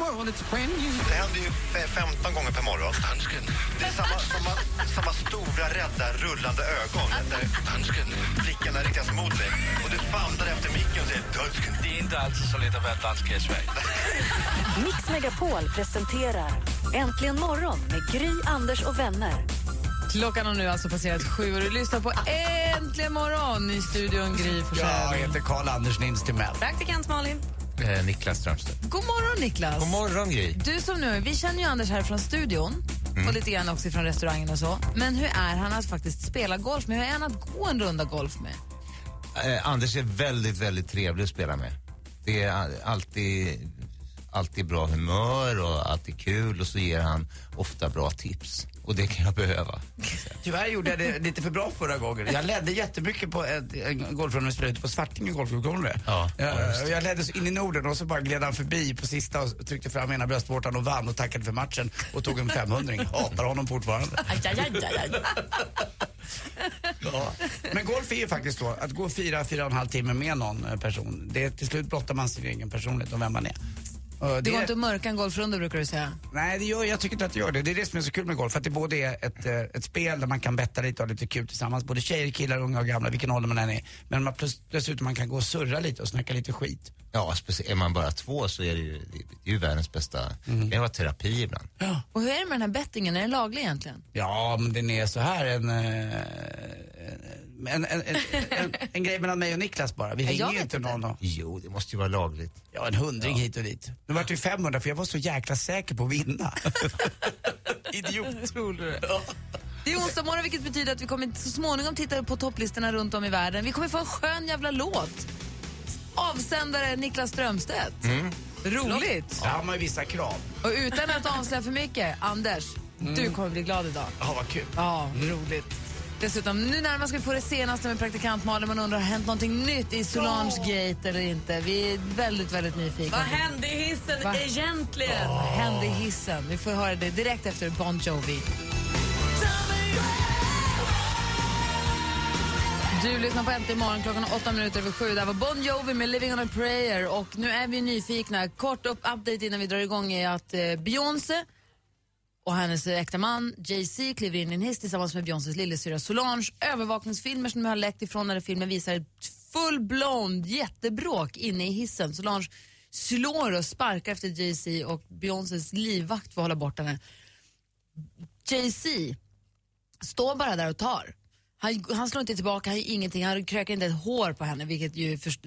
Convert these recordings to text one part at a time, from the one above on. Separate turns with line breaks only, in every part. world, it's brand new.
Det händer ju f- 15 gånger per morgon. Dansken. Det är samma, samma, samma stora, rädda, rullande ögon. Dansken. Blickarna riktas mot dig. Och du famlar efter micken och säger dansken.
Det är inte alltid så lätt att vara dansk i Sverige.
Mix Megapol presenterar Äntligen morgon med Gry, Anders och vänner.
Klockan har nu alltså passerat sju och du lyssnar på Äntligen morgon i studion Gry
Ja, jag
Forssell.
heter Karl-Anders Nils Timell.
Praktikant Malin.
Eh, Niklas Strömstedt.
God morgon, Niklas.
God morgon, Gry.
Du som nu, vi känner ju Anders här från studion
Mm.
och lite grann också från restaurangen och så. Men hur är han att faktiskt spela golf med? Hur är han att gå en runda golf med?
Eh, Anders är väldigt, väldigt trevlig att spela med. Det är a- alltid, alltid bra humör och alltid kul och så ger han ofta bra tips. Och det kan jag behöva.
Tyvärr gjorde jag det lite för bra förra gången. Jag ledde jättemycket på ett, en golfrunda vi spelade ute på Svartinge golfklubblån
Ja, ja, just det.
Eh, Jag ledde så in i Norden och så bara gled han förbi på sista och tryckte fram ena bröstvårtan och vann och tackade för matchen och tog en 500 Hatar honom fortfarande. Ja. Men golf är ju faktiskt så, att gå fyra, fyra och en halv timme med någon eh, person, det är till slut blottar man sin egen personlighet och vem man är. Och
Det går inte att mörka en golfrunda brukar du säga.
Nej, det gör, jag tycker inte att det gör det. Det är det som är så kul med golf, att det både är ett, eh, ett spel där man kan betta lite och ha lite kul tillsammans. Både tjejer, killar, unga och gamla, vilken ålder man än är. Men man plus, dessutom man kan gå och surra lite och snacka lite skit.
Ja, specie- är man bara två så är det ju, det är ju världens bästa. Det kan vara terapi ibland.
Och hur är det med den här bettingen? Är den laglig egentligen?
Ja, men den är så här en... eh, En, en, en, en, en grej mellan mig och Niklas bara. Vi
Jag
ringer ju
vet
inte
inte.
någon och,
Jo, det måste ju vara lagligt.
Ja, en hundring hit och dit. Nu vart det ju 500 för jag var så jäkla säker på att vinna. Idiot. Tror du
Det är onsdag morgon vilket betyder att vi kommer så småningom titta på topplistorna runt om i världen. Vi kommer få en skön jävla låt. Avsändare Niklas Strömstedt. Roligt.
Där har man ju vissa krav.
Och utan att avslöja för mycket, Anders, du kommer bli glad idag.
Ja, vad kul.
Ja, roligt. Dessutom, nu närmast ska vi få det senaste med praktikant Malin. Man undrar, har hänt någonting nytt i Solange Gate eller inte? Vi är väldigt, väldigt nyfikna.
Vad hände i hissen
Va?
egentligen?
Vad hände i hissen? Vi får höra det direkt efter Bon Jovi. Du lyssnar på Äntligen morgon klockan är åtta minuter över sju. Där var Bon Jovi med Living on a prayer. Och nu är vi nyfikna. Kort upp update innan vi drar igång är att eh, Beyoncé och hennes äkta man Jay-Z kliver in i en hiss tillsammans med Beyoncés lillasyrra Solange. Övervakningsfilmer som nu har läckt ifrån när filmen visar ett full-blown jättebråk inne i hissen. Solange slår och sparkar efter Jay-Z och Beyoncés livvakt får hålla bort henne. Jay-Z står bara där och tar. Han, han slår inte tillbaka, han gör ingenting, han krökar inte ett hår på henne vilket ju först-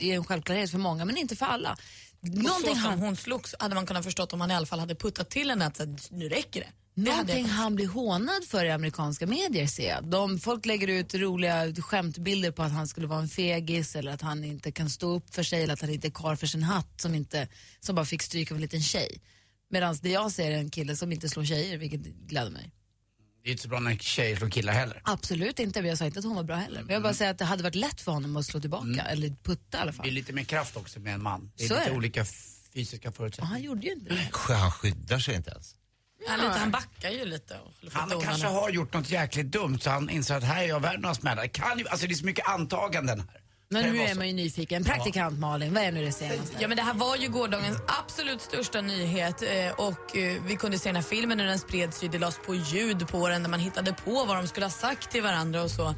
är en självklarhet för många men inte för alla.
Någonting
Någonting
så som
han,
hon slogs hade man kunnat förstå om han i alla fall hade puttat till henne att så här, nu räcker det. det. hade jag
Någonting han blir hånad för i amerikanska medier ser jag. De, folk lägger ut roliga skämtbilder på att han skulle vara en fegis eller att han inte kan stå upp för sig eller att han inte är karl för sin hatt som, inte, som bara fick stryk av en liten tjej. Medan det jag ser är en kille som inte slår tjejer, vilket gläder mig.
Det är inte så bra när tjejer slår killar heller.
Absolut inte, men jag sa inte att hon var bra heller. Men jag bara säger att det hade varit lätt för honom att slå tillbaka, eller putta i alla
Det är
fall.
lite mer kraft också med en man. Det är
Så
lite
är det.
olika fysiska
Och
förutsättningar.
han gjorde ju inte det.
Han skyddar sig inte ens.
tänkt. Han, lite, han backar ju lite. Och håller på
Han
att dona
kanske
henne.
har gjort något jäkligt dumt så han inser att här är jag värd några smällar. Det Kan ju, alltså det är så mycket antaganden här.
Men
Kan ju
nu
vara
är
så.
man ju nyfiken. Praktikant Malin, vad är nu det senaste?
Ja, men det här var ju gårdagens absolut största nyhet eh, och eh, vi kunde se den här filmen när den spreds ju, det lades på ljud på den där man hittade på vad de skulle ha sagt till varandra och så.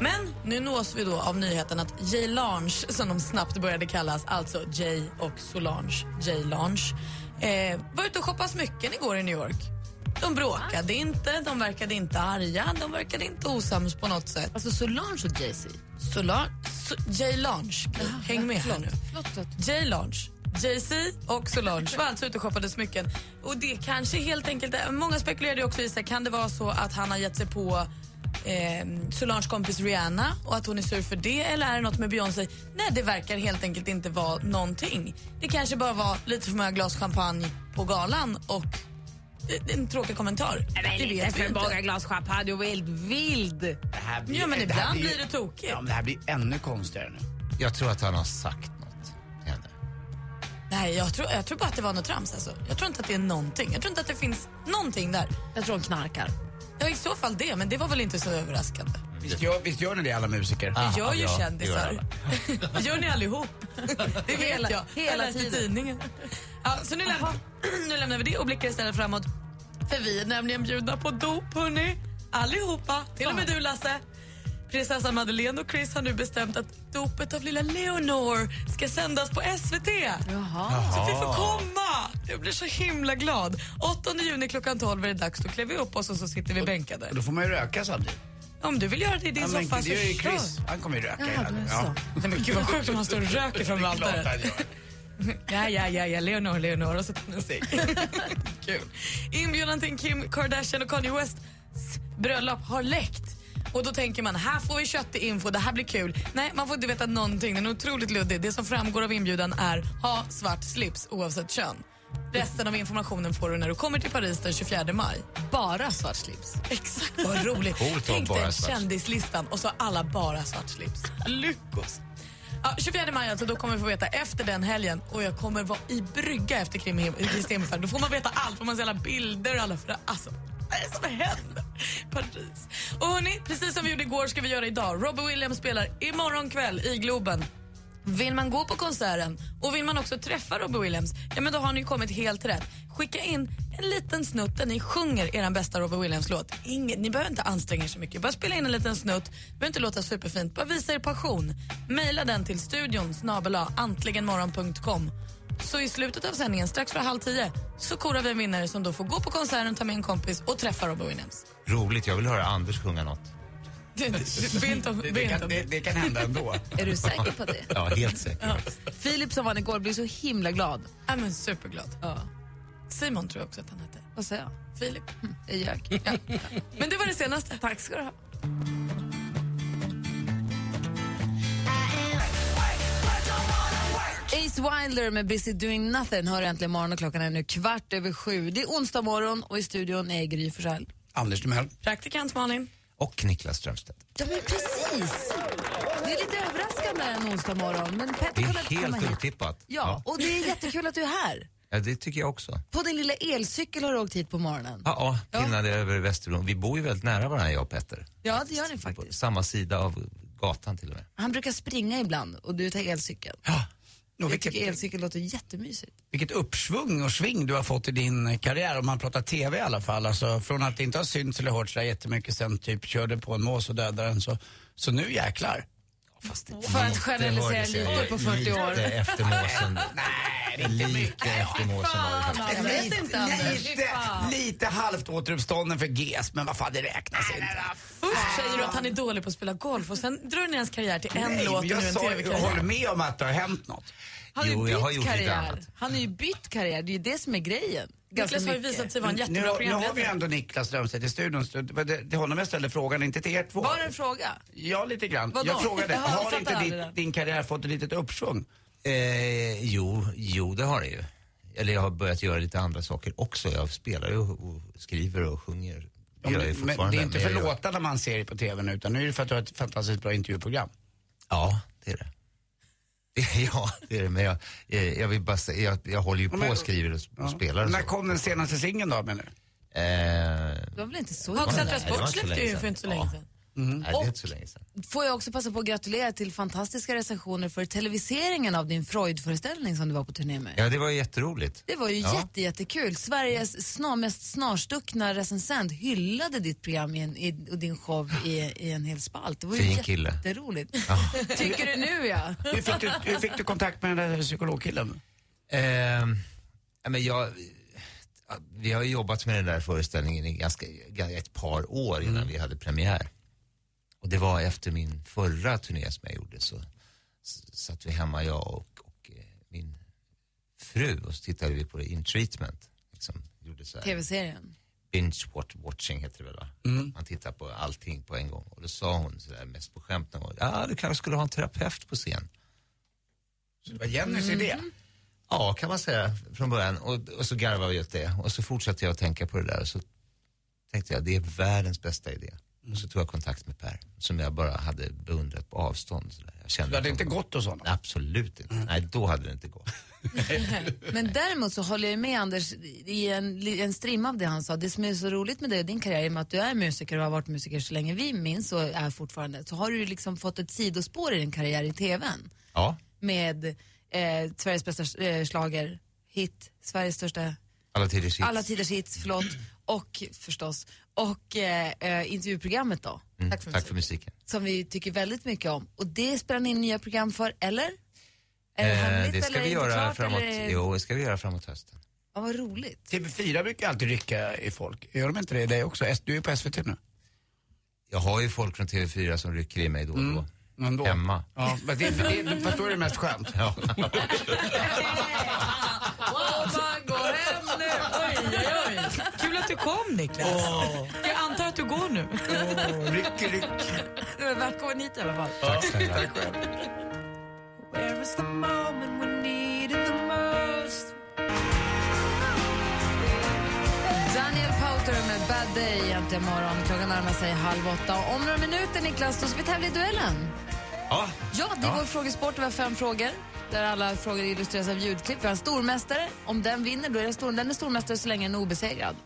Men nu nås vi då av nyheten att Jay Lange, som de snabbt började kallas, alltså Jay och Solange, Jay Lange, eh, var ute och shoppade smycken igår i New York. De bråkade inte, de verkade inte arga, de verkade inte osams på något sätt.
Alltså Solange och Jay-Z.
Solange, so, Jay Lange, häng med här nu.
Förlåt, förlåt.
Jay Lange, Jay-Z och Solange var alltså ute och shoppade smycken. Och det kanske helt enkelt är, många spekulerade ju också i så här, kan det vara så att han har gett sig på eh, Solanges kompis Rihanna och att hon är sur för det eller är det något med Beyoncé? Nej, det verkar helt enkelt inte vara någonting. Det kanske bara var lite för många glas champagne på galan och eh, en tråkig kommentar. det vet vi inte.
glas champagne och vild, vild.
Det här
Ja, men
det här
ibland
ju-
blir det tokigt.
Ja, men det här blir ännu konstigare nu.
Jag tror att han har sagt något till henne.
Nej, jag tror, jag tror bara att det var något trams alltså. Jag tror inte att det är någonting. Jag tror inte att det finns någonting där.
Jag tror hon knarkar.
Ja, i så fall det, men det var väl inte så överraskande.
Visst gör, visst gör ni det alla musiker?
Ah,
Vi gör ju
ja, det gör
kändisar. Det gör ni allihop. Det vet
Hela-
jag.
hela
jag läste
tiden.
tidningen. Ja, så nu, lämnar, nu lämnar vi det och blickar istället framåt. För vi är nämligen bjudna på dop, hörni. Allihopa. Till och med du, Lasse. Prinsessan Madeleine och Chris har nu bestämt att dopet av lilla Leonor ska sändas på SVT.
Jaha.
Så vi får komma! Jag blir så himla glad. 8 juni klockan 12 är det dags. Då klär vi upp oss och så sitter vi bänkade.
Och Då får man ju röka samtidigt.
Om du vill göra det i din
Ja, men
soffa så
det gör ju
kör.
Chris. Han kommer ju röka
Jaha,
hela
det är
tiden.
så.
Nej, men gud vad sjukt om han står och röker
Det
framför
är klart
altaret.
han gör.
Ja, ja, ja, ja, Leonor, Leonor och så tar man sig. Kul. Inbjudan till Kim Kardashian och Kanye Wests bröllop har läckt. Och då tänker man, här får vi köttig info, det här blir kul. Nej, man får inte veta någonting, den är otroligt luddig. Det som framgår av inbjudan är, ha svart slips oavsett kön. Resten av informationen får du när du kommer till Paris den 24 maj.
Bara svart slips.
Exakt, vad roligt.
Coolt att ha
Tänk
bara
dig
svart.
kändislistan och så alla bara svart slips. Lyckos! Ja, 24 maj alltså, då kommer vi få veta efter den helgen och jag kommer vara i brygga efter Krim- Kristi himmelfärd. Då får man veta allt, får man se alla bilder och alla för alltså, vad är det som händer? Paris. Och hörni, precis som vi gjorde igår ska vi göra idag. Robbie Williams spelar imorgon kväll i Globen. Vill man gå på konserten och vill man också träffa Robbie Williams, ja men då har ni kommit helt rätt. Skicka in en liten snutt där ni sjunger er bästa Robbie Williams-låt. Ingen- Ni behöver inte anstränga er så mycket, bara spela in en liten snutt. Det behöver inte låta superfint, bara visa er passion. Maila den till studion snabela antligenmorgon.com. Så i slutet av sändningen, strax före halv tio, så korar vi en vinnare som då får gå på konserten, ta med en kompis och träffa Robbie Williams.
Roligt, jag vill höra Anders sjunga något.
Be inte om-
Det,
be
det,
inte
kan,
om
det, det kan hända ändå.
Är du säker på det?
Ja, helt säkert.
Filip som vann igår blir så himla glad.
Ja, men superglad.
Ja.
Simon tror jag också att han heter.
Vad säger jag?
Filip.
Jag ljög.
Men det var det senaste. Tack ska du ha.
Ace Wilder med Busy Doing Nothing hör äntligen morgon och klockan är nu kvart över sju. Det är onsdag morgon och i studion är Gry Forssell.
Anders Timell.
Praktikant Malin.
Och Niklas Strömstedt.
Ja men precis! Det är lite överraskande en onsdag morgon men
Det
Petter
är
kunde inte komma
helt
hit.
otippat.
Ja, och det är jättekul att du är här.
ja, det tycker jag också.
På din lilla elcykel har du åkt hit på morgonen.
Ja,
Ja.
ja, pinnade över Västerbron. Vi bor ju väldigt nära varandra jag och Petter.
Ja, det gör ni
På
faktiskt.
samma sida av gatan till och med.
Han brukar springa ibland och du tar elcykeln.
Och
Jag tycker
vilket,
elcykel låter jättemysigt.
vilket uppsvung och sving du har fått i din karriär om man pratar TV i alla fall. Alltså, från att det inte har synts eller hörts så där jättemycket sen typ körde på en mås och dödade den så, så nu jäklar.
För att generalisera
hördes
lite
jag
på 40 år.
Lite efter måsen. lite efter
Ah,
måsen var det faktiskt.
Jag vet inte Anders.
Lite, lite halvt återuppstånden för GES, men vad fan det räknas inte.
Först säger du att han är dålig på att spela golf och sen drar du ner hans karriär till en
Nej,
låt och
men
nu
jag
en
sa, jag håller
tv-karriär.
med om att det har hänt något.
Han har ju
Jo,
bytt
jag har gjort lite
karriär.
annat.
Han har ju bytt karriär, det är ju det som är grejen. Ganska
Niklas har ju
mycket.
visat sig vara en
Nu,
jättebra
har- nu har vi
programledare.
ändå Niklas Strömstedt i studion. så Det var det- det är honom jag ställde frågan, inte till er två.
Var det en fråga?
Ja, lite grann.
Vadå?
Jag frågade,
Jag
har
fattar
inte
aldrig
ditt,
det.
din karriär fått ett litet uppsvung?
Eh, jo, jo, det har det ju. Eller jag har börjat göra lite andra saker också. Jag spelar ju och, och skriver och sjunger.
Ja,
Det gör jag ju
men, men
fortfarande.
det är inte
men
för
jag gör-
låtarna man ser på TV nu, utan nu är det för att du har ett fantastiskt bra intervjuprogram.
Ja, det är det. Det- ja, det är det. Men jag, eh, jag vill bara säga, jag, jag håller ju på
men-
och skriver och, och spelar och
När
så.
kom den senaste singeln då, menar du?
Eh,
Det var väl inte så
Haga
Nej,
Centra
det var
Sport
inte så
släppte
länge
ju för
sedan.
inte så länge
Ja.
sedan.
Mm.
nej, det är inte så länge sedan.
Får jag också passa på att gratulera till fantastiska recensioner för televiseringen av din Freud-föreställning som du var på turné med.
Ja, det var ju jätteroligt.
Det var ju
Ja.
jätte, jättekul. Sveriges snar, mest snarstuckna recensent hyllade ditt program i en, i, och din show i, i en hel spalt. Det var ju
Fin kille.
jätteroligt. Tycker du nu ja?
Hur fick du, hur fick du kontakt med den där psykologkillen?
Ehm, ja, men jag, vi har ju jobbat med den där föreställningen i ganska, ett par år innan
Mm.
vi hade premiär. Och det var efter min förra turné som jag gjorde så s- satt vi hemma jag och, och eh, min fru och så tittade vi på In Treatment. Liksom, gjorde så här,
Tv-serien.
binge wat- watching heter det väl va?
Mm.
Man tittar på allting på en gång. Och då sa hon sådär mest på skämt någon gång, ja du kanske skulle ha en terapeut på scen.
Så det var Jennys idé.
Ja, kan man säga från början. Och, och så garvade vi åt det. Och så fortsatte jag att tänka på det där. Och så tänkte jag, det är världens bästa idé. Och så tog jag kontakt med Per, som jag bara hade beundrat på avstånd. Så där. Jag kände
Du hade
att
inte
honom.
gått hos honom?
Mm.
Absolut inte. Nej, då hade det inte gått.
Men däremot så håller jag med Anders i en, li- en strimma av det han sa. Det som är så roligt med dig och din karriär, i och med att du är musiker och har varit musiker så länge vi minns och är fortfarande, så har du liksom fått ett sidospår i din karriär i TVn
Ja.
med eh, Sveriges bästa eh, slager, hit, Sveriges största
Alla tiders hits.
alla tiders hits, förlåt. Och förstås. Och eh, eh, intervjuprogrammet då,
Mm,
Tack för
Tack för musiken.
som vi tycker väldigt mycket om. Och det spelar ni in nya program för, eller? Är det
Eh,
hemligt
det
eller
ska
är
vi
det
göra
klart,
framåt.
eller är-
Jo, det ska vi göra framåt hösten.
Ja, vad roligt.
TV4 brukar alltid rycka i folk. Gör de inte det i dig också? S- Du är på SVT nu.
Jag har ju folk från TV4 som rycker i mig då och
Mm.
då.
Ändå.
Hemma.
Ja, fast, det, det, fast då är det mest skönt.
Ja.
Kul att du kom Niklas. Jag antar att du går nu.
Åh, ryck, ryck.
Välkommen hit i alla fall.
Tack snälla.
Daniel Powter med Bad Day egentligen imorgon. Klockan närmar sig halv åtta. Och Om några minuter, Niklas, då ska vi tävla i duellen.
Ja.
Ja, det är vår frågesport. Vi har fem frågor där alla frågor illustreras av ljudklipp. Vi har en stormästare. Om den vinner, då är den, stor, den är stormästare så länge den är obesegrad.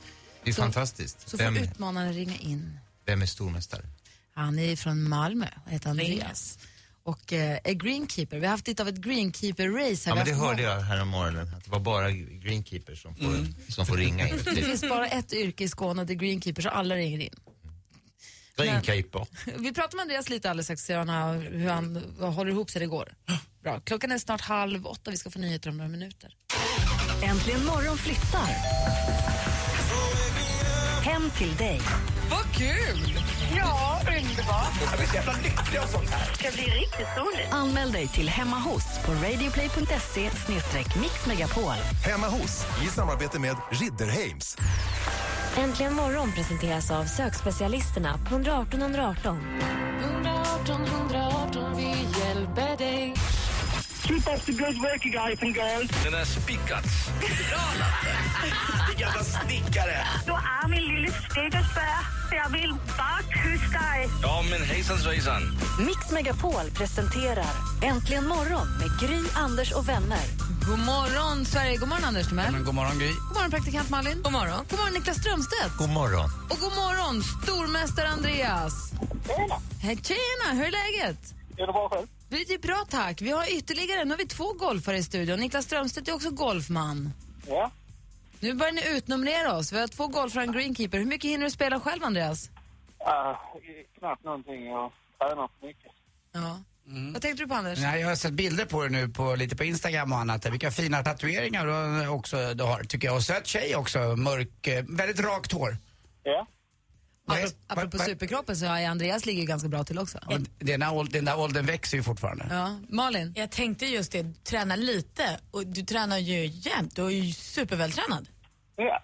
Det är
Så-
fantastiskt.
Så får
Vem,
utmanaren ringa in.
vem är stormästare?
Han är från Malmö och heter Andreas. Och eh, är greenkeeper. Vi har haft lite av ett greenkeeper-race här.
Ja, men
Vi
det
har haft
hörde jag här om morgonen. Att det var bara greenkeepers som får, som får ringa in.
många- Det finns bara ett yrke i Skåne och det är greenkeeper, så alla ringer in.
Greenkeeper.
Vi pratar med Andreas lite alldeles strax, ser han har- hur han vad håller ihop sig det går. Bra. Klockan är snart halv åtta, vi ska få nyheter om några minuter.
Äntligen morgon flyttar. Hem till dig.
Vad kul!
Anmäl dig till Hemma hos på radioplay.se mixmegapol.
Hemma hos, i samarbete med Ridderheims.
Äntligen morgon presenteras av sökspecialisterna på 118 118.
Den är spikad.
Du er min lille stikkespær. Jeg vil bare kysse dig.
Ja, men hejsan svejsan.
Mix Megapol presenterar Äntligen morgon med Gry, Anders och vänner.
God morgon Sverige, god morgon Anders Timell.
Men god morgon Gry.
God morgon praktikant Malin. God morgon. God morgon Niklas Strömstedt.
God morgon.
Och god morgon stormästare Andreas. Hej, Tjena, hur är läget?
Är det bra själv?
Det är bra tack. Vi har ytterligare, nu har vi två golfare i studion. Niklas Strömstedt är också golfman.
Ja.
Nu börjar ni utnumrera oss. Vi har två golfare och en greenkeeper. Hur mycket hinner du spela själv Andreas?
Uh, knappt någonting. Jag tränar för mycket.
Ja. Vad tänkte du på Anders?
Mm. Nej, jag har sett bilder på dig nu på, lite på Instagram och annat. Vilka fina tatueringar du också du har tycker jag. Och söt tjej också. Mörk, eh, väldigt rakt hår.
Ja.
Nej,
Apropå, apropå
va- va-
superkroppen så är Andreas ligger ju ganska bra till också.
Ja, men Den där, åld- den där åldern växer ju fortfarande.
Ja. Malin?
Jag tänkte just det, du tränar lite och du tränar ju jämt. Du är ju supervältränad.
Ja.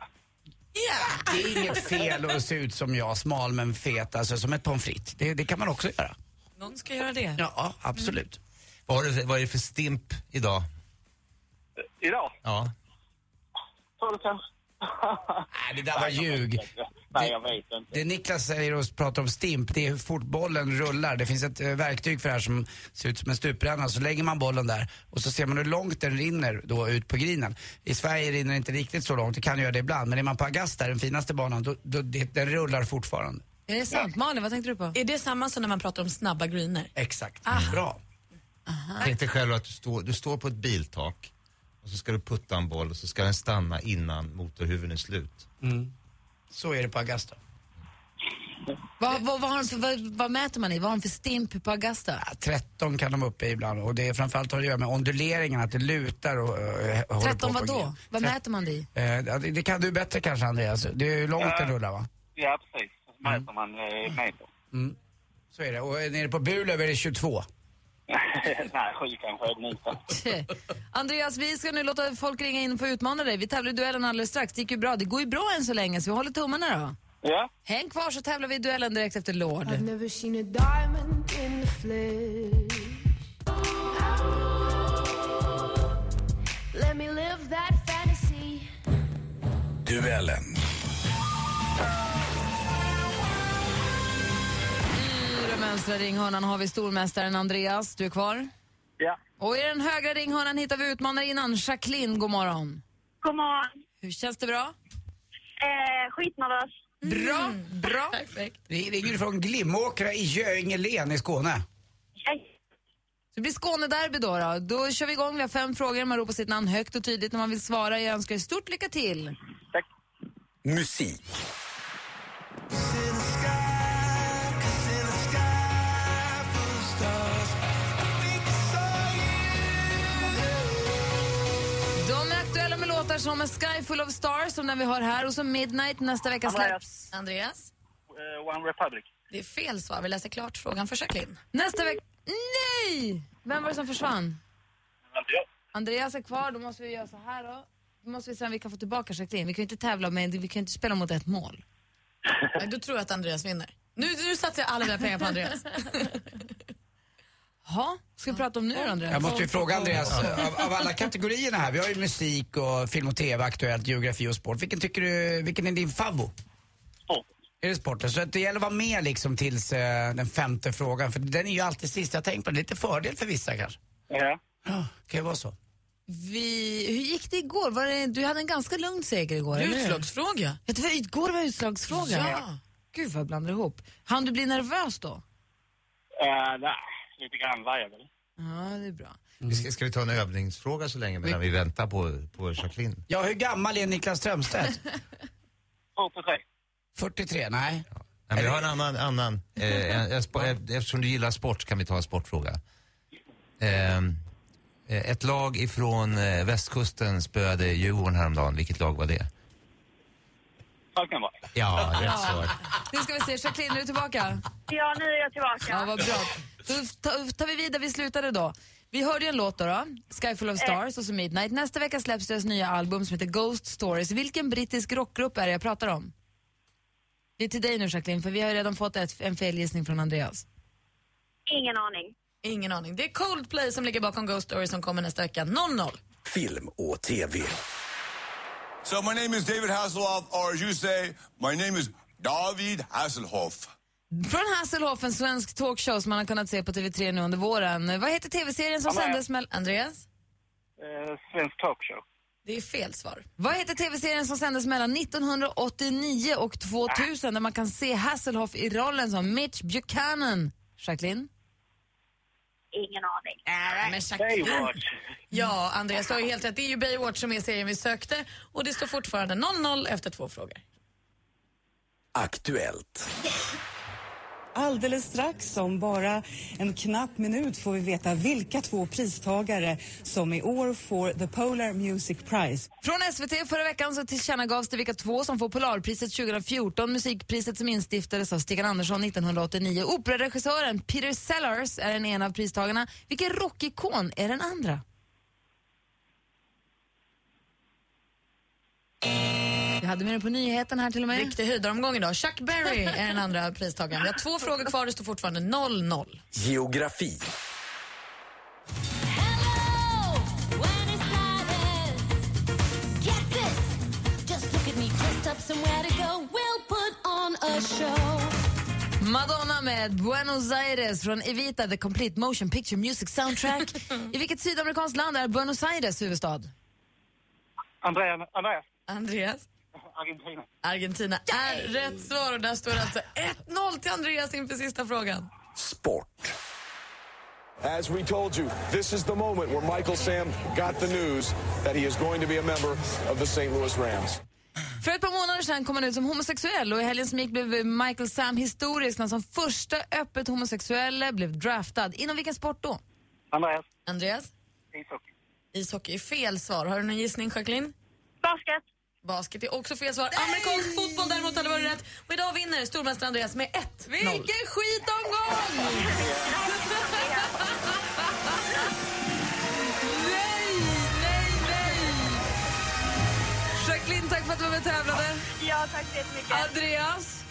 Ja!
Det är inget fel att se ut som jag, smal men fet, alltså som ett pommes frites. Det, det kan man också göra.
Någon ska göra det.
Ja, ja, absolut.
Vad, har du, vad är det för stimp idag?
Idag?
Ja.
Tror du kanske?
Nej, det där var ljug.
Nej, jag vet inte.
Det Niklas säger och pratar om stimp, det är hur fort bollen rullar. Det finns ett eh, verktyg för det här som ser ut som en stupränna. Så lägger man bollen där och så ser man hur långt den rinner då ut på grinen. I Sverige rinner det inte riktigt så långt, det kan göra det ibland. Men är man på Augusta, den finaste banan, då, då, det, den rullar fortfarande.
Är det sant? Malin, vad tänkte du på?
Är det samma som när man pratar om snabba greener?
Exakt.
Ah.
Bra.
Tänk dig själv att du står, du står på ett biltak och så ska du putta en boll och så ska den stanna innan motorhuven är slut.
Så är det på Augusta.
Vad, vad, vad, har de för, vad, vad mäter man i? Vad har de för stimp på Augusta?
Ja, 13 kan de upp i ibland och det är framförallt har det att göra med onduleringen, att det lutar och... eh, håller på
13
på
vad då?
grinen.
Vad mäter man det i?
Eh, ja, det, det kan du bättre kanske Andreas. Det är ju långt
Ja.
den rullar va?
Ja, precis. Så
Mm.
mäter man eh, meter.
Så är det. Och eh, nere på Burlöv är det 22.
Nej, sju kanske är det minsta.
Tje. Andreas, vi ska nu låta folk ringa in och få utmana dig. Vi tävlar i duellen alldeles strax. Det gick ju bra. Det går ju bra än så länge, så vi håller tummarna då.
Ja.
Häng kvar så tävlar vi i duellen direkt efter Lord.
Duellen.
I den vänstra ringhörnan har vi stormästaren Andreas. Du är kvar.
Ja.
Och i den högra ringhörnan hittar vi utmanarinnan Jacqueline. God morgon.
God morgon.
Hur känns det bra?
Eh, skitnervös.
Bra, bra.
Perfekt.
Vi ringer ju från Glimåkra i Göingelen i Skåne.
Så det blir Skånederby då, då. Då kör vi igång. Vi har fem frågor. Man ropar sitt namn högt och tydligt när man vill svara. Jag önskar er stort lycka till.
Musik.
De är aktuella med låtar som A Sky Full of Stars, som den vi har här, och som Midnight nästa vecka släpps.
Andreas?
Eh, One Republic.
Det är fel svar. Vi läser klart frågan för Jacqueline.
Nästa vecka... Nej! Vem var det som försvann?
Vänta, jag.
Andreas är kvar, då måste vi göra så här då. Då måste vi se om vi kan få tillbaka Jacqueline. Vi kan ju inte tävla med, vi kan ju inte spela mot ett mål.
Nej, då tror jag att Andreas vinner. Nu, nu satsar jag alla mina pengar på Andreas.
Ha, ska vi prata om nu då, Andreas?
Jag måste ju fråga Andreas, av, av alla kategorierna här, vi har ju musik och film och TV, aktuellt, geografi och sport. Vilken tycker du, vilken är din favvo?
Sport.
Är det sporten? Så att det gäller att vara med liksom tills eh, den femte frågan, för den är ju alltid sist. Jag tänkte på det, lite fördel för vissa kanske.
Ja.
Ja, kan ju vara så.
Vi, hur gick det igår? Var det, du hade en ganska lugn seger igår, eller hur?
Utslagsfråga.
Ja, det var, igår var utslagsfrågan.
Ja.
Gud vad jag blandar ihop. Han du blir nervös då?
Eh, nej, lite grann var jag väl.
Ja, det är bra.
Ska, ska vi ta en övningsfråga så länge medan vi väntar på, på Jacqueline?
Ja, hur gammal är Niklas Strömstedt?
43.
43? Nej.
Nej, men jag har en annan, annan eh, en, en, spo- eh, eftersom du gillar sport kan vi ta en sportfråga. Ehm, Eh, ett lag ifrån eh, västkusten spöade Djurgården häromdagen. Vilket lag var det?
Falkenberg.
Ja, rätt svar.
Nu ska vi se, Jacqueline, är du tillbaka?
Ja, nu är jag tillbaka.
Ja, vad bra. Då ta- tar vi vid där vi slutade då. Vi hörde ju en låt då, då Sky Full
Eh.
of Stars och så Midnight. Nästa vecka släpps deras nya album som heter Ghost Stories. Vilken brittisk rockgrupp är det jag pratar om? Det är till dig nu Jacqueline, för vi har ju redan fått ett, en felgissning från Andreas.
Ingen aning.
Ingen aning. Det är Coldplay som ligger bakom Ghost Story som kommer nästa vecka. 0-0.
Film och TV.
So my name is David Hasselhoff, or as you say, my name is David Hasselhoff.
Från Hasselhoff, en svensk talkshow som man har kunnat se på TV3 nu under våren. Vad heter TV-serien som
Ja, men-
sändes mellan... Andreas?
Eh, svensk talkshow.
Det är fel svar.
Vad heter TV-serien som sändes mellan 1989 och 2000 där man kan se Hasselhoff i rollen som Mitch Buchanan? Jacqueline?
Ingen aning.
Men Jacqueline.
Baywatch.
Ja, Andreas, du har ju helt rätt. Det är ju Baywatch som är serien vi sökte och det står fortfarande 0-0 efter två frågor.
Aktuellt.
Alldeles strax, om bara en knapp minut, får vi veta vilka två pristagare som i år får The Polar Music Prize.
Från SVT förra veckan så tillkännagavs det vilka två som får Polarpriset 2014, musikpriset som instiftades av Stig Andersson 1989. Operaregissören Peter Sellers är den ena av pristagarna. Vilken rockikon är den andra? Vi hade med den på nyheten här till och med.
Riktig höjdaromgång idag. Chuck Berry är den andra pristagaren. Vi har två frågor kvar, det står fortfarande 0-0.
Geografi.
Madonna med Buenos Aires från Evita, The Complete Motion Picture Music Soundtrack. I vilket sydamerikanskt land är Buenos Aires huvudstad?
Andrea, Andreas.
Andreas?
Argentina.
Argentina är rätt svar och där står det alltså 1-0 till Andreas inför sista frågan.
Sport.
As we told you, this is the moment where Michael Sam got the news that he is going to be a member of the St. Louis Rams.
För ett par månader sedan kom han ut som homosexuell och i helgen som gick blev Michael Sam historisk när han som första öppet homosexuelle blev draftad. Inom vilken sport då?
Andreas.
Andreas?
Ishockey.
Ishockey är fel svar. Har du någon gissning, Jacqueline?
Basket.
Basket är också fel svar. Amerikansk fotboll däremot hade varit rätt. Och idag vinner stormästare Andreas med 1-0.
Vilken skitomgång! nej, nej, nej! Jacqueline, tack för att du var med och tävlade.
Ja, tack så jättemycket.
Andreas,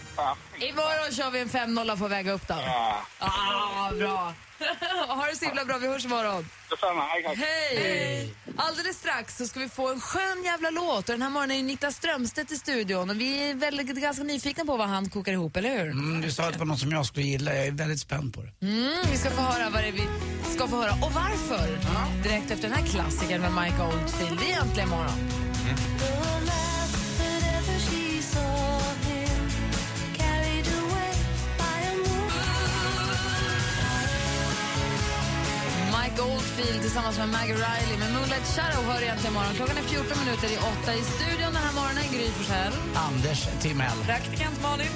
Imorgon kör vi en 5-0 och får väga upp den.
Ja.
Ah, bra. ha det så himla bra, vi hörs imorgon.
Detsamma, hej tack.
Hej! Alldeles strax så ska vi få en skön jävla låt och den här morgonen är Niklas Strömstedt i studion och vi är väldigt, ganska nyfikna på vad han kokar ihop, eller hur?
Mm, du sa att det var något som jag skulle gilla. Jag är väldigt spänd på det.
Mm, vi ska få höra vad det är vi ska få höra och varför. Direkt efter den här klassikern med Mike Oldfield. Det är äntligen morgon. Mike Oldfield tillsammans med Maggie Riley med Moonlight Shadow hör egentligen morgon. Klockan är 14 minuter i 8 i studion den här morgonen. Gry Forssell.
Anders Timell.
Praktikant Malin.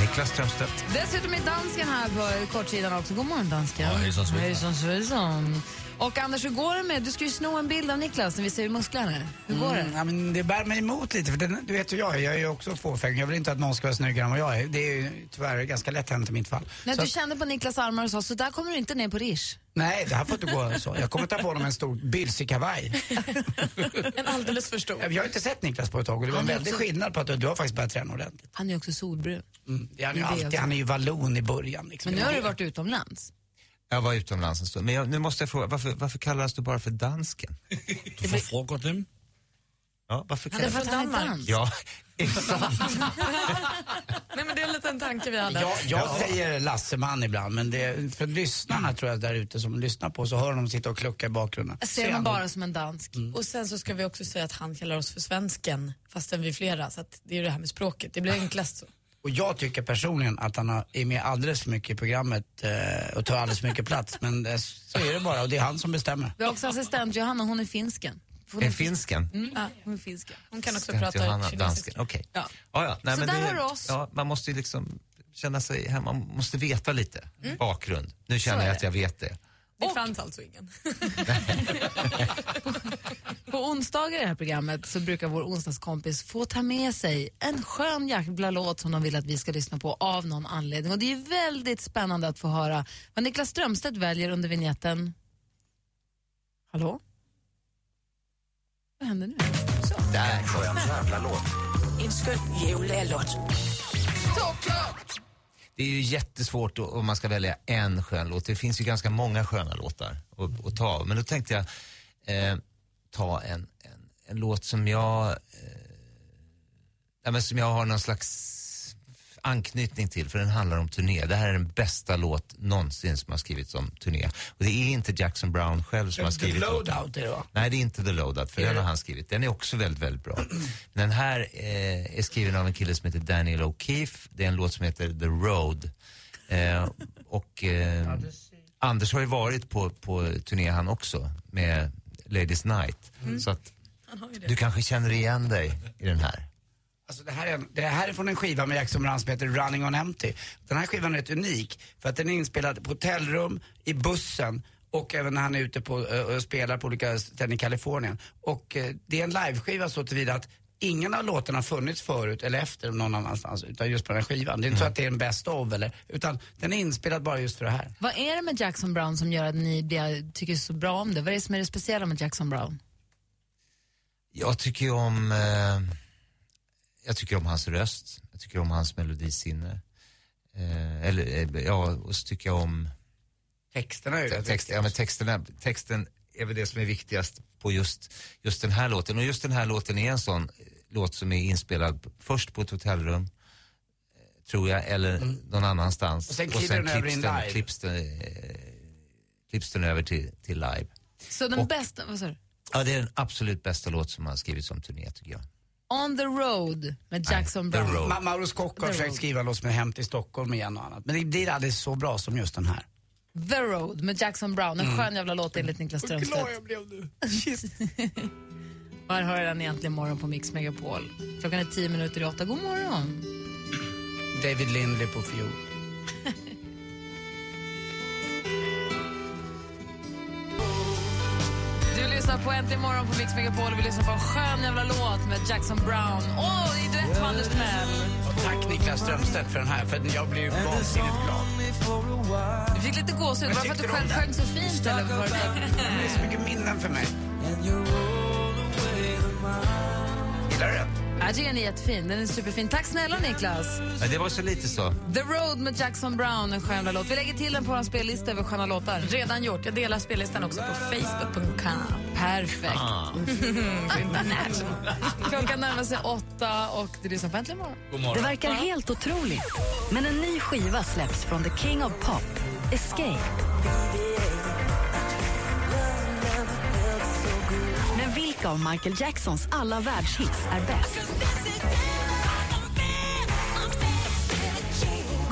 Niklas Strömstedt.
Dessutom är dansken här på kortsidan också. God morgon, dansken.
Ja, hejsan, svejsan.
Hejsan, svejsan. Och Anders, hur går det med... Du ska ju sno en bild av Niklas när vi ser musklerna. Hur går
Mm, ja, men det bär mig emot lite, för den, du vet hur jag är. Jag är ju också fåfäng. Jag vill inte att någon ska vara snyggare än vad jag är. Det är ju tyvärr ganska lätt hänt i mitt fall.
det? När
Så
du
att-
kände på Niklas armar och sa så där kommer du inte ner på Rish.
Nej, det här får inte gå så. Jag kommer ta på honom en stor bylsig kavaj.
En alldeles för stor.
Jag har inte sett Niklas på ett tag och det var en
Han är
väldig
också-
skillnad på att du, du har faktiskt börjat träna ordentligt.
Han är ju också solbrun.
Mm. Det är Han, är ju
Det är
alltid,
alltså-
han är ju vallon i början. Liksom.
Men nu har du varit utomlands.
Jag var utomlands en stund. Men jag, nu måste jag fråga, varför, varför kallas du bara för dansken? Du får fråga dem. Ja, varför
Han är
kallas
från Danmark.
Ja, exakt.
Nej, men det är en liten tanke vi hade.
Jag, jag säger Lasseman ibland, men det, för lyssnarna tror jag där ute som lyssnar på så hör de sitta och klucka i bakgrunden.
Ser man bara
som en dansk.
Mm.
Och sen så ska vi också säga att han kallar oss för svensken fastän vi är flera. Så att det är ju det här med språket. Det blir enklast så.
Och jag tycker personligen att han har- är med alldeles för mycket i programmet eh, och tar alldeles för mycket plats. Men eh, så är det bara och det är han som bestämmer.
Vi har också assistent Johanna, hon är finsken. Hon
Är finsken?
Mm, ja, hon är finsken. Hon kan också
Tänkte jag, Hanna, dansken. Okej.
Ja.
Ja, ja. Nej,
Så
men
där
det,
har du oss.
Ja, man måste ju liksom känna sig hemma, man måste veta lite
Mm.
bakgrund. Nu känner
Så är
jag att
det.
jag vet det.
Det fanns alltså ingen.
På onsdagar i det här programmet så brukar vår onsdagskompis få ta med sig en skön jäkla låt som de vill att vi ska lyssna på av någon anledning. Och det är väldigt spännande att få höra vad Niklas Strömstedt väljer under vignetten. Hallå? Vad händer nu?
Där
Skön jävla låt.
En skön jävla låt.
Det är ju jättesvårt då, om man ska välja en skön låt. Det finns ju ganska många sköna låtar att, att ta av. Men då tänkte jag eh, ta en, en, en låt som jag, eh, ja, men som jag har någon slags anknytning till för den handlar om turné. Det här är den bästa låt någonsin som har skrivits om turné. Och det är inte Jackson Brown själv som har
The
skrivit låten.
loadout är det va?
Nej, det är inte The Loadout, för
Är
den
det-
har han skrivit. Den är också väldigt, väldigt bra. Den här eh, är skriven av en kille som heter Daniel O'Keefe. Det är en låt som heter The Road. Eh, och eh, Anders har ju varit på, på turné han också med Ladies Night.
Mm.
Så att du kanske känner igen dig i den här.
Alltså det, här är, en- det här är från en skiva med Jackson Brown som heter Running on Empty. Den här skivan är rätt unik för att den är inspelad på hotellrum, i bussen och även när han är ute på, eh, och spelar på olika ställen i Kalifornien. Och eh, det är en liveskiva så tillvida att ingen av låtarna har funnits förut eller efter någon annanstans utan just på den här skivan. Det är inte så att det är en best of eller, utan den är inspelad bara just för det här.
Vad är det med Jackson Brown som gör att ni blir- tycker så bra om det? Vad är det som är det speciella med Jackson Brown?
Jag tycker ju om, eh, jag tycker om hans röst. Jag tycker om hans melodisinne. Eh, eller, eh, ja, och så tycker jag om
Texterna är ju rätt
text, ja, men texterna, texten är väl det som är viktigast på just, just den här låten. Och just den här låten är en sån eh, låt som är inspelad först på ett hotellrum, eh, tror jag, eller någon annanstans.
Mm. Och sen kliver den över i en live.
klipps, den, eh, klipps den över till, till live.
Så den
Och-
bästa, vad sa du?
Ja, det är den absolut bästa låt som har skrivits om turné tycker jag.
On the road med Jackson Brown.
Ma- Mauro Scocco har
The
försökt
Road.
skriva en låt som är Hem till Stockholm igen och annat. Men det blir aldrig så bra som just den här.
The Road med Jackson Brown. En
Mm.
skön jävla låt enligt Niklas
Vad glad
Strömstedt.
jag blev nu.
Här hör jag den egentligen imorgon på Mix Megapol. Klockan är tio minuter i åtta. God morgon!
David Lindley på fiol.
Du lyssnar på Äntligen morgon på Mix Megapol och vi lyssnar på en skön jävla låt med Jackson Brown. Åh, i duett med Anders Timell.
Och tack Niklas Strömstedt för den här, för jag blir ju vansinnigt glad.
Du fick lite gåshud.
Vad
Var det för att du
tyckte du om
själv
den?
sjöng så fint eller? vad var det?
Det är så mycket minnen för mig. Gillar du den?
Ja, Jag tycker den är jättefin. Den är superfin. Tack snälla Niklas.
Ja, det var så lite så.
The Road med Jackson Brown, en skön låt. Vi lägger till den på vår spellista över sköna låtar.
Redan gjort. Jag delar spellistan också på facebook.com.
Perfekt.
Ah.
International. Klockan närmar sig åtta och det lyssnar på Äntligen morgon.
God morgon.
Det verkar helt otroligt, men en ny skiva släpps från The King of Pop, Escape. Men vilka av Michael Jacksons alla världshits är bäst?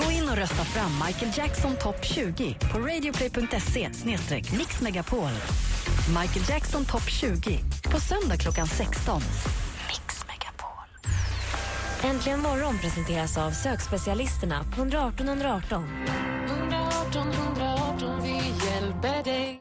Gå in och rösta fram Michael Jackson topp 20 på radioplay.se mixmegapol. Michael Jackson topp 20 på söndag klockan 16.
Äntligen morgon presenteras av sökspecialisterna på 118 118.
118 118, vi hjälper dig.